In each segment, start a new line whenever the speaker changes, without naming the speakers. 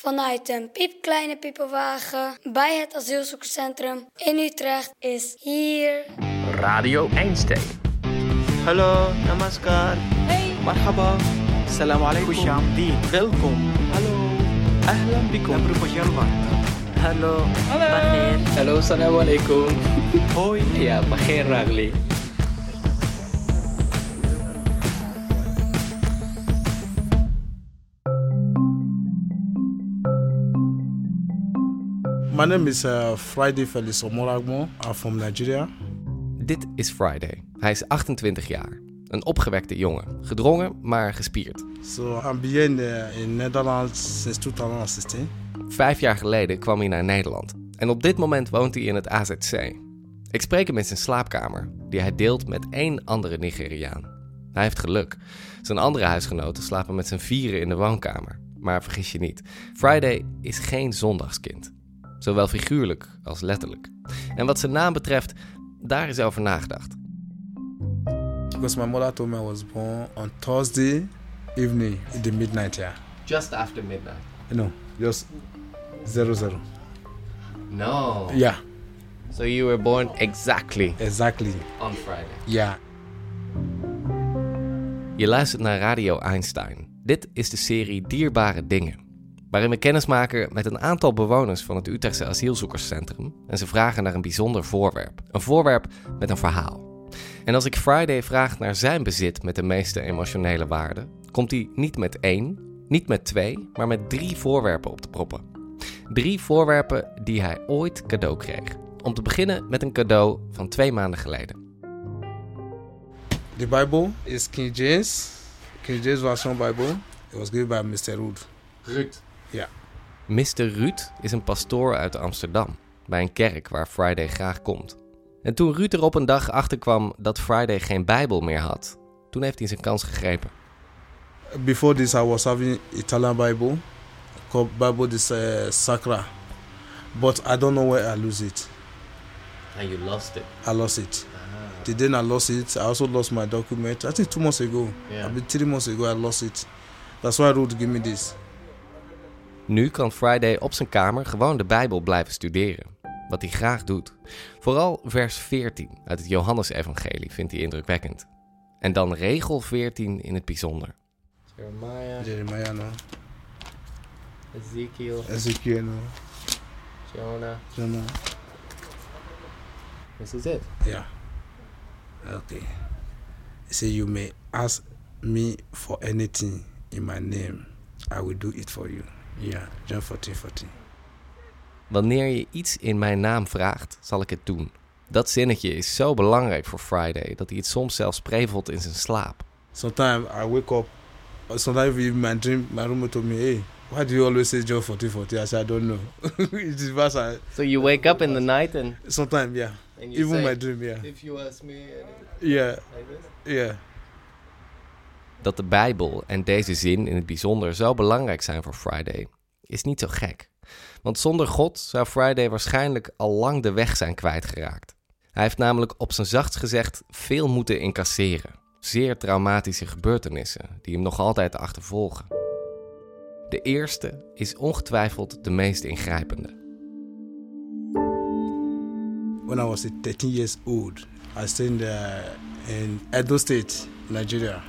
vanuit een piepkleine piepenwagen bij het asielzoekerscentrum in Utrecht is hier.
Radio Einstein.
Hallo, namaskar. Hey. Marhaba. Salam alaikum.
خوشامدید
Welkom. Hallo. Ahlan bikum.
امر خوشیروان
Hallo. Hallo.
Hallo, salam alaikum.
هوی
Ja, begin ragli.
My name is uh, Friday Felix Omoragmo. I'm from Nigeria.
Dit is Friday. Hij is 28 jaar. Een opgewekte jongen. Gedrongen, maar gespierd.
So I'm here in, the, in Netherlands since 2016.
Vijf jaar geleden kwam hij naar Nederland. En op dit moment woont hij in het AZC. Ik spreek hem in zijn slaapkamer, die hij deelt met één andere Nigeriaan. Hij heeft geluk. Zijn andere huisgenoten slapen met z'n vieren in de woonkamer. Maar vergis je niet, Friday is geen zondagskind. Zowel figuurlijk als letterlijk. En wat zijn naam betreft, daar is over nagedacht.
Because my mother told me I was born on Thursday evening in the midnight here.
Just after midnight.
No, just zero zero.
No.
Yeah,
So you were born exactly
exactly.
on Friday.
Yeah.
Je luistert naar Radio Einstein. Dit is de serie Dierbare Dingen, waarin we kennis maken met een aantal bewoners van het Utrechtse asielzoekerscentrum en ze vragen naar een bijzonder voorwerp. Een voorwerp met een verhaal. En als ik Friday vraag naar zijn bezit met de meeste emotionele waarde, komt hij niet met één, niet met twee, maar met drie voorwerpen op te proppen. Drie voorwerpen die hij ooit cadeau kreeg. Om te beginnen met een cadeau van twee maanden geleden.
The Bible is King James. King James Version Bible. It was given by Mr. Wood.
Mr. Ruud is een pastoor uit Amsterdam, bij een kerk waar Friday graag komt. En toen Ruud er op een dag achterkwam dat Friday geen Bijbel meer had, toen heeft hij zijn kans gegrepen.
Before this, I was having Italian Bible called Bible this uh, Sacra, but I don't know where I lose it.
And you lost it. Ah.
I lost it. The day I lost it, I also lost my document. I think two months ago. I mean, three months ago, I lost it. That's why Ruth gave me this.
Nu kan Friday op zijn kamer gewoon de Bijbel blijven studeren. Wat hij graag doet. Vooral vers 14 uit het Johannesevangelie vindt hij indrukwekkend. En dan regel 14 in het bijzonder.
Jeremiah,
Jeremiah, no.
Ezekiel,
Ezekiel, no.
Jonah.
Jonah.
This is it.
Yeah. Okay. He said, You may ask me for anything in my name, I will do it for you. Yeah. John 14 14.
Wanneer je iets in mijn naam vraagt, zal ik het doen. Dat zinnetje is zo belangrijk voor Friday dat hij het soms zelfs prevelt in zijn slaap.
Sometimes I wake up, or sometimes even my dream, my roommate told me, Hey, why do you always say John 14 14? I said, I don't know. it's the verse I,
So you wake up in the night and,
sometimes, yeah.
And
Even my dream, yeah.
If you ask me,
Yeah,
like this.
yeah.
Dat de Bijbel en deze zin in het bijzonder zo belangrijk zijn voor Friday, is niet zo gek. Want zonder God zou Friday waarschijnlijk al lang de weg zijn kwijtgeraakt. Hij heeft namelijk op zijn zachtst gezegd veel moeten incasseren. Zeer traumatische gebeurtenissen die hem nog altijd achtervolgen. De eerste is ongetwijfeld de meest ingrijpende.
When I was 13 years old, I stayed in, the, in Edo State, Nigeria.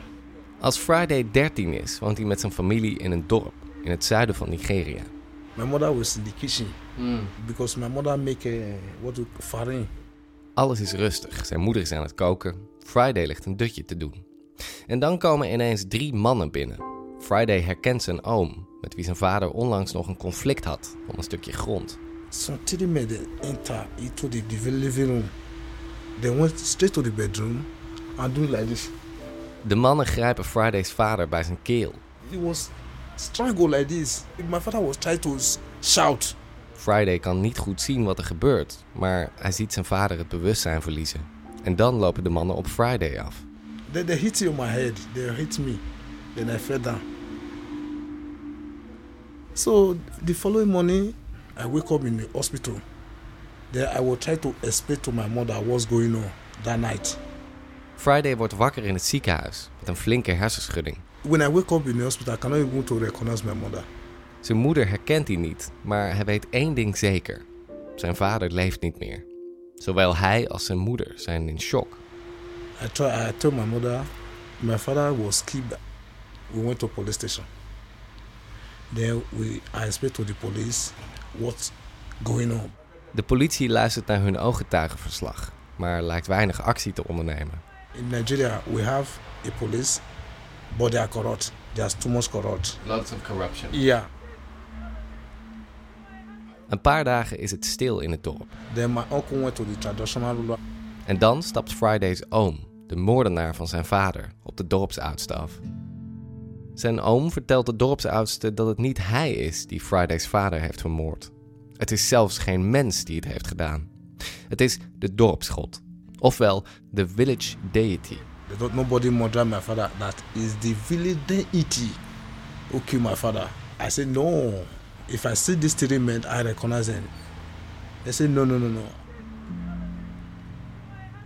Als Friday 13 is, woont hij met zijn familie in een dorp in het zuiden van Nigeria.
My mother was in the kitchen because my mother make uh, what we call farin.
Alles is rustig. Zijn moeder is aan het koken. Friday ligt een dutje te doen. En dan komen ineens drie mannen binnen. Friday herkent zijn oom, met wie zijn vader onlangs nog een conflict had om een stukje grond.
So three men they enter into the, the living room. They went straight to the bedroom and do like this.
De mannen grijpen Fridays vader bij zijn keel.
It was strangle like this. My father was trying to s- shout.
Friday kan niet goed zien wat er gebeurt, maar hij ziet zijn vader het bewustzijn verliezen. En dan lopen de mannen op Friday af.
Then they hit me on my head. They hit me. Then I fell down. So the following morning, I wake up in the hospital. Then I will try to explain to my mother what's going on that night.
Friday wordt wakker in het ziekenhuis met een flinke hersenschudding.
When I wake up in the hospital, I cannot even go to recognize my mother.
Zijn moeder herkent hij niet, maar hij weet één ding zeker. Zijn vader leeft niet meer. Zowel hij als zijn moeder zijn in shock.
I, try, I told my mother my father was killed. We went to police station. Then we I explained to the police what's going on.
De politie luistert naar hun ooggetuigenverslag, maar lijkt weinig actie te ondernemen.
In Nigeria, we have a police, but they are corrupt. There's too much corrupt.
Lots of corruption.
Yeah.
Een paar dagen is het stil in het dorp.
Then my uncle went to the traditional ruler.
En dan stapt Friday's oom, de moordenaar van zijn vader, op de dorpsoudste af. Zijn oom vertelt de dorpsoudste dat het niet hij is die Friday's vader heeft vermoord. Het is zelfs geen mens die het heeft gedaan. Het is de dorpsgod, ofwel de village deity.
They don't, nobody murdered my father. That is the village deity who killed my father. I said, no. If I see this statement, I recognize him. They said, no, no, no, no.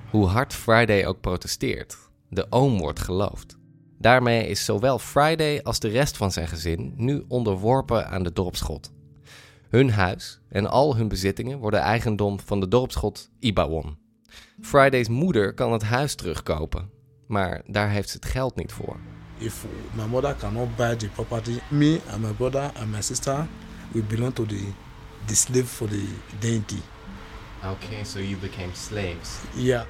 Hoe hard Friday ook protesteert, de oom wordt geloofd. Daarmee is zowel Friday als de rest van zijn gezin nu onderworpen aan de dorpsgod. Hun huis en al hun bezittingen worden eigendom van de dorpsgod Ibawon. Friday's moeder kan het huis terugkopen, maar daar heeft ze het geld niet voor.
If my mother cannot buy the property, me and my brother and my sister, we belong to the, the slave for the deity.
Okay, so you became slaves.
Yeah.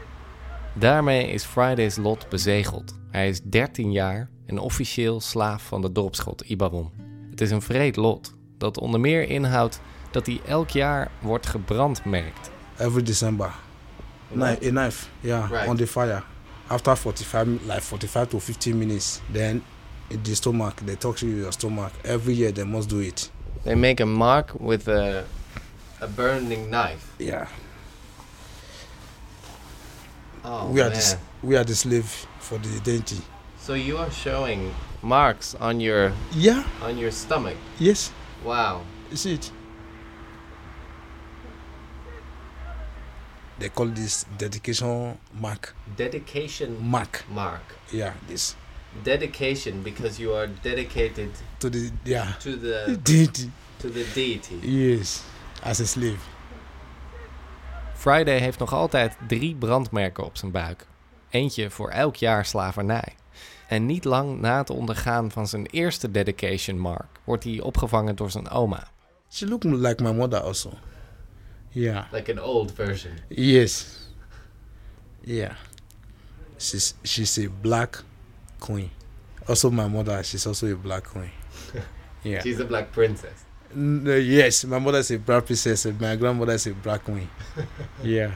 Daarmee is Friday's lot bezegeld. Hij is 13 jaar en officieel slaaf van de dorpsgod Ibawon. Het is een vreed lot dat onder meer inhoudt dat hij elk jaar wordt gebrandmerkt.
Every December. Knife, a knife, yeah,
Right.
on the fire. After 45, like 45 to 50 minutes, then in the stomach, they torture your stomach. Every year they must do it.
They make a mark with a, a burning knife.
Yeah.
Oh,
we are the, s- we are the slave for the deity.
So you are showing marks on your
Yeah,
on your stomach.
yes,
Wow.
is it. They call this dedication mark.
Dedication
Mark.
mark.
Yeah, this.
Dedication because you are dedicated
To the yeah.
to the
Deity.
to the deity.
Yes. As a slave.
Friday heeft nog altijd drie brandmerken op zijn buik. Eentje voor elk jaar slavernij. En niet lang na het ondergaan van zijn eerste dedication mark wordt hij opgevangen door zijn oma.
She looked like my mother also. Yeah.
Like an old version.
Yes. Yeah. She's she's a black queen. Also my mother, she's also a black queen. Yeah.
She's a black princess.
N- uh, yes, my mother is a black princess and my grandmother is a black queen. yeah.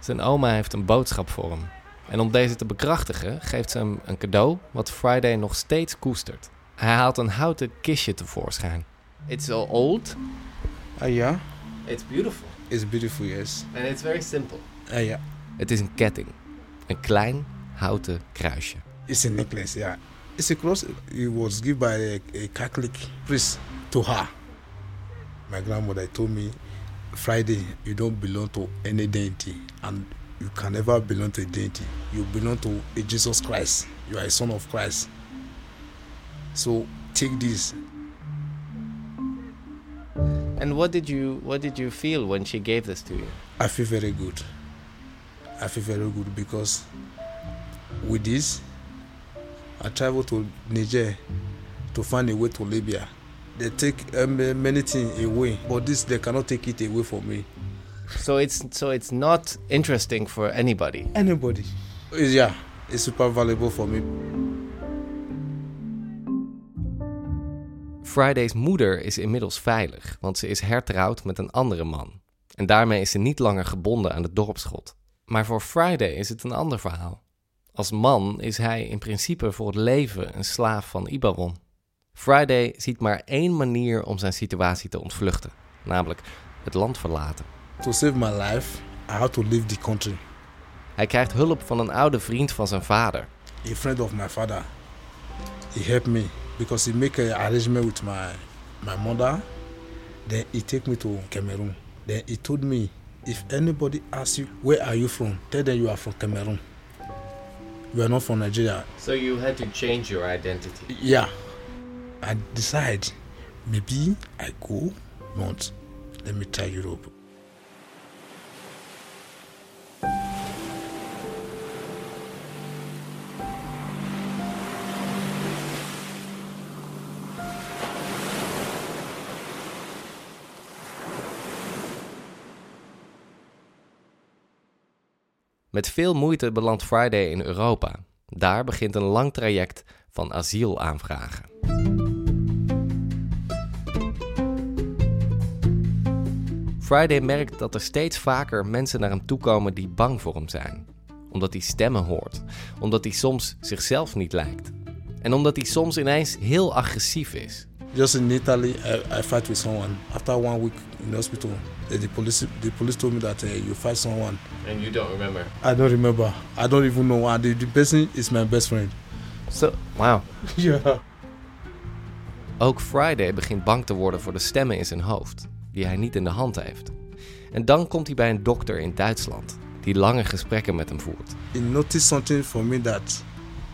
Zijn oma heeft een boodschap voor hem. En om deze te bekrachtigen geeft ze hem een cadeau wat Friday nog steeds koestert. Hij haalt een houten kistje tevoorschijn.
It's so old.
Ah yeah.
It's beautiful.
It's beautiful, yes.
And it's very simple.
Ah yeah.
Het is een ketting. Een klein houten kruisje.
It's a necklace, yeah. It's a cross it was given by a, a Catholic priest to her. My grandmother told me Friday you don't belong to any deity and you can never belong to a deity. You belong to a Jesus Christ. You are a son of Christ. So take this.
And what did you what did you feel when she gave this to you?
I feel very good. I feel very good because with this, I travel to Niger to find a way to Libya. They take um, many things away, but this they cannot take it away from me.
So it's so it's not interesting for anybody.
Anybody? Eh, Yeah, it's super valuable for me.
Friday's moeder is inmiddels veilig, want ze is hertrouwd met een andere man. En daarmee is ze niet langer gebonden aan de dorpsgod. Maar voor Friday is het een ander verhaal. Als man is hij in principe voor het leven een slaaf van Ibawon. Friday ziet maar één manier om zijn situatie te ontvluchten, namelijk het land verlaten.
To save my life, I had to leave the country.
Hij krijgt hulp van een oude vriend van zijn vader.
a friend of my father he helped me because he make an arrangement with my my mother then he take me to cameroon then he told me if anybody ask you where are you from tell them you are from cameroon you are not from nigeria
So you had to change your identity.
yeah i decide Maybe I go, not. Let me try Europe.
Met veel moeite belandt Friday in Europa. Daar begint een lang traject van asielaanvragen. Friday merkt dat er steeds vaker mensen naar hem toekomen die bang voor hem zijn. Omdat hij stemmen hoort, omdat hij soms zichzelf niet lijkt. En omdat hij soms ineens heel agressief is.
Just in Italy, I, I fight with someone. After one week in the hospital, the, the police the police told me that uh, you fight someone.
And you don't remember.
I don't remember. I don't even know. And the, the person is my best friend.
Zo, wauw.
Yeah.
Ook Friday begint bang te worden voor de stemmen in zijn hoofd, die hij niet in de hand heeft. En dan komt hij bij een dokter in Duitsland, die lange gesprekken met hem voert.
He noticed something for me that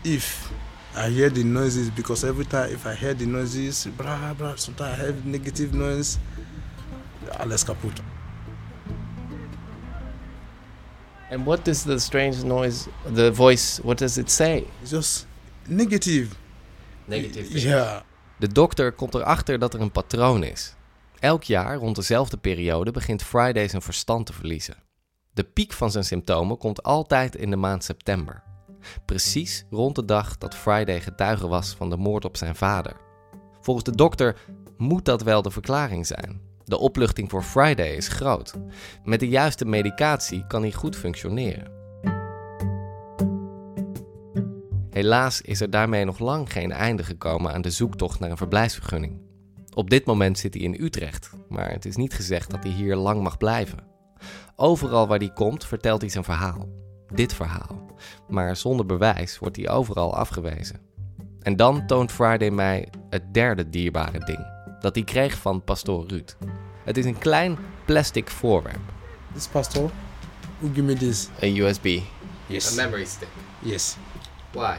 if I hear the noises, because every time if I hear the noises, blah blah, sometimes I have negative noise. Alles kaput.
And what does the strange noise, the voice, what does it say?
It's just negative. Yeah.
De dokter komt erachter dat er een patroon is. Elk jaar rond dezelfde periode begint Friday zijn verstand te verliezen. De piek van zijn symptomen komt altijd in de maand september. Precies rond de dag dat Friday getuige was van de moord op zijn vader. Volgens de dokter moet dat wel de verklaring zijn. De opluchting voor Friday is groot. Met de juiste medicatie kan hij goed functioneren. Helaas is er daarmee nog lang geen einde gekomen aan de zoektocht naar een verblijfsvergunning. Op dit moment zit hij in Utrecht, maar het is niet gezegd dat hij hier lang mag blijven. Overal waar hij komt vertelt hij zijn verhaal. Dit verhaal. Maar zonder bewijs wordt hij overal afgewezen. En dan toont Friday mij het derde dierbare ding dat hij kreeg van pastoor Ruud. Het is een klein plastic voorwerp,
This pastor who give me this.
A USB.
Yes.
A memory stick.
Yes.
Why?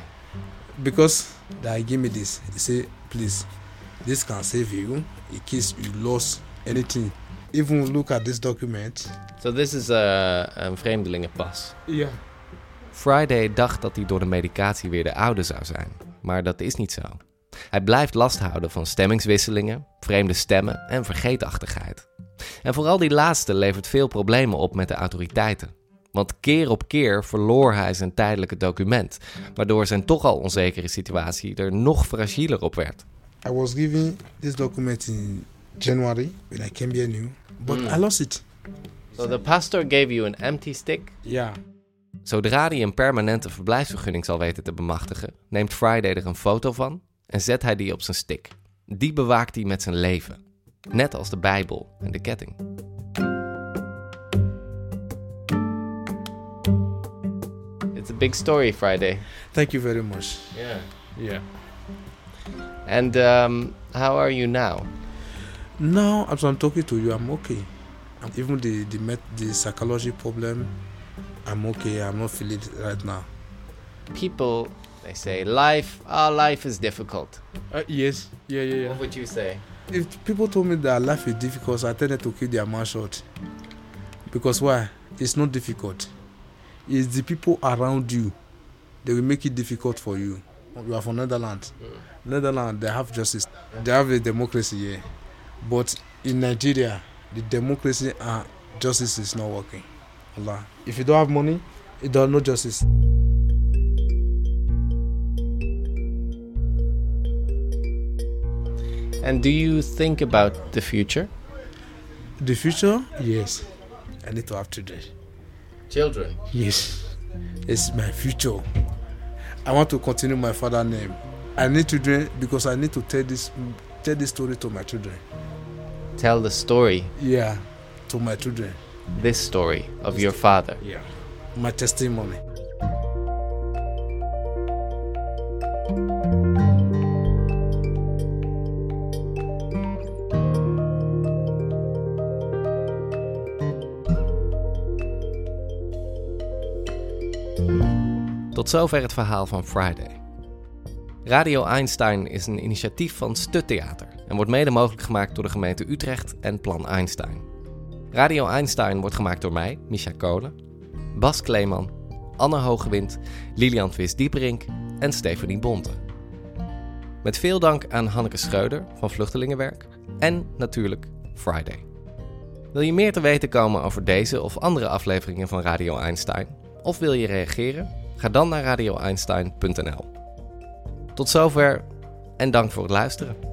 Because that he give me this. He say, please, this can save you in case you lost anything. Even look at this document.
So this is a, een vreemdelingenpas.
Yeah.
Friday dacht dat hij door de medicatie weer de oude zou zijn, maar dat is niet zo. Hij blijft last houden van stemmingswisselingen, vreemde stemmen en vergeetachtigheid. En vooral die laatste levert veel problemen op met de autoriteiten. Want keer op keer verloor hij zijn tijdelijke document, waardoor zijn toch al onzekere situatie er nog fragieler op werd.
I was given this document in January when I came here new, but I lost it.
So the pastor gave you an empty stick?
Yeah.
Zodra hij een permanente verblijfsvergunning zal weten te bemachtigen, neemt Friday er een foto van en zet hij die op zijn stick. Die bewaakt hij met zijn leven. Net als de Bijbel en de ketting.
It's a big story, Friday.
Thank you very much.
Yeah.
Yeah.
And um, how are you now?
Now as I'm talking to you, I'm okay. And Even the the met the psychology problem, I'm okay. I'm not feeling it right now.
People, they say life, our life is difficult.
Uh, yes. Yeah, yeah,
What would you say?
If people told me that life is difficult, I tell them to keep their mouth shut. Because why? It's not difficult. It's the people around you. They will make it difficult for you. You are from Netherlands. Netherlands, they have justice. They have a democracy here. But in Nigeria, the democracy and justice is not working. Allah. If you don't have money, you don't know justice.
And do you think about the future?
The future? Yes. I need to have children.
Children.
Yes, it's my future. I want to continue my father name. I need children because I need to tell this tell this story to my children.
Tell the story,
Yeah, to my children.
this story of your father.
Yeah, my testimony.
Tot zover het verhaal van Friday. Radio Einstein is een initiatief van Stuttheater, en wordt mede mogelijk gemaakt door de gemeente Utrecht en Plan Einstein. Radio Einstein wordt gemaakt door mij, Misha Kolen, Bas Kleeman, Anne Hogewind, Lilian Twist-Dieperink en Stephanie Bonte. Met veel dank aan Hanneke Schreuder van Vluchtelingenwerk en natuurlijk Friday. Wil je meer te weten komen over deze of andere afleveringen van Radio Einstein? Of wil je reageren? Ga dan naar radioeinstein.nl. Tot zover en dank voor het luisteren.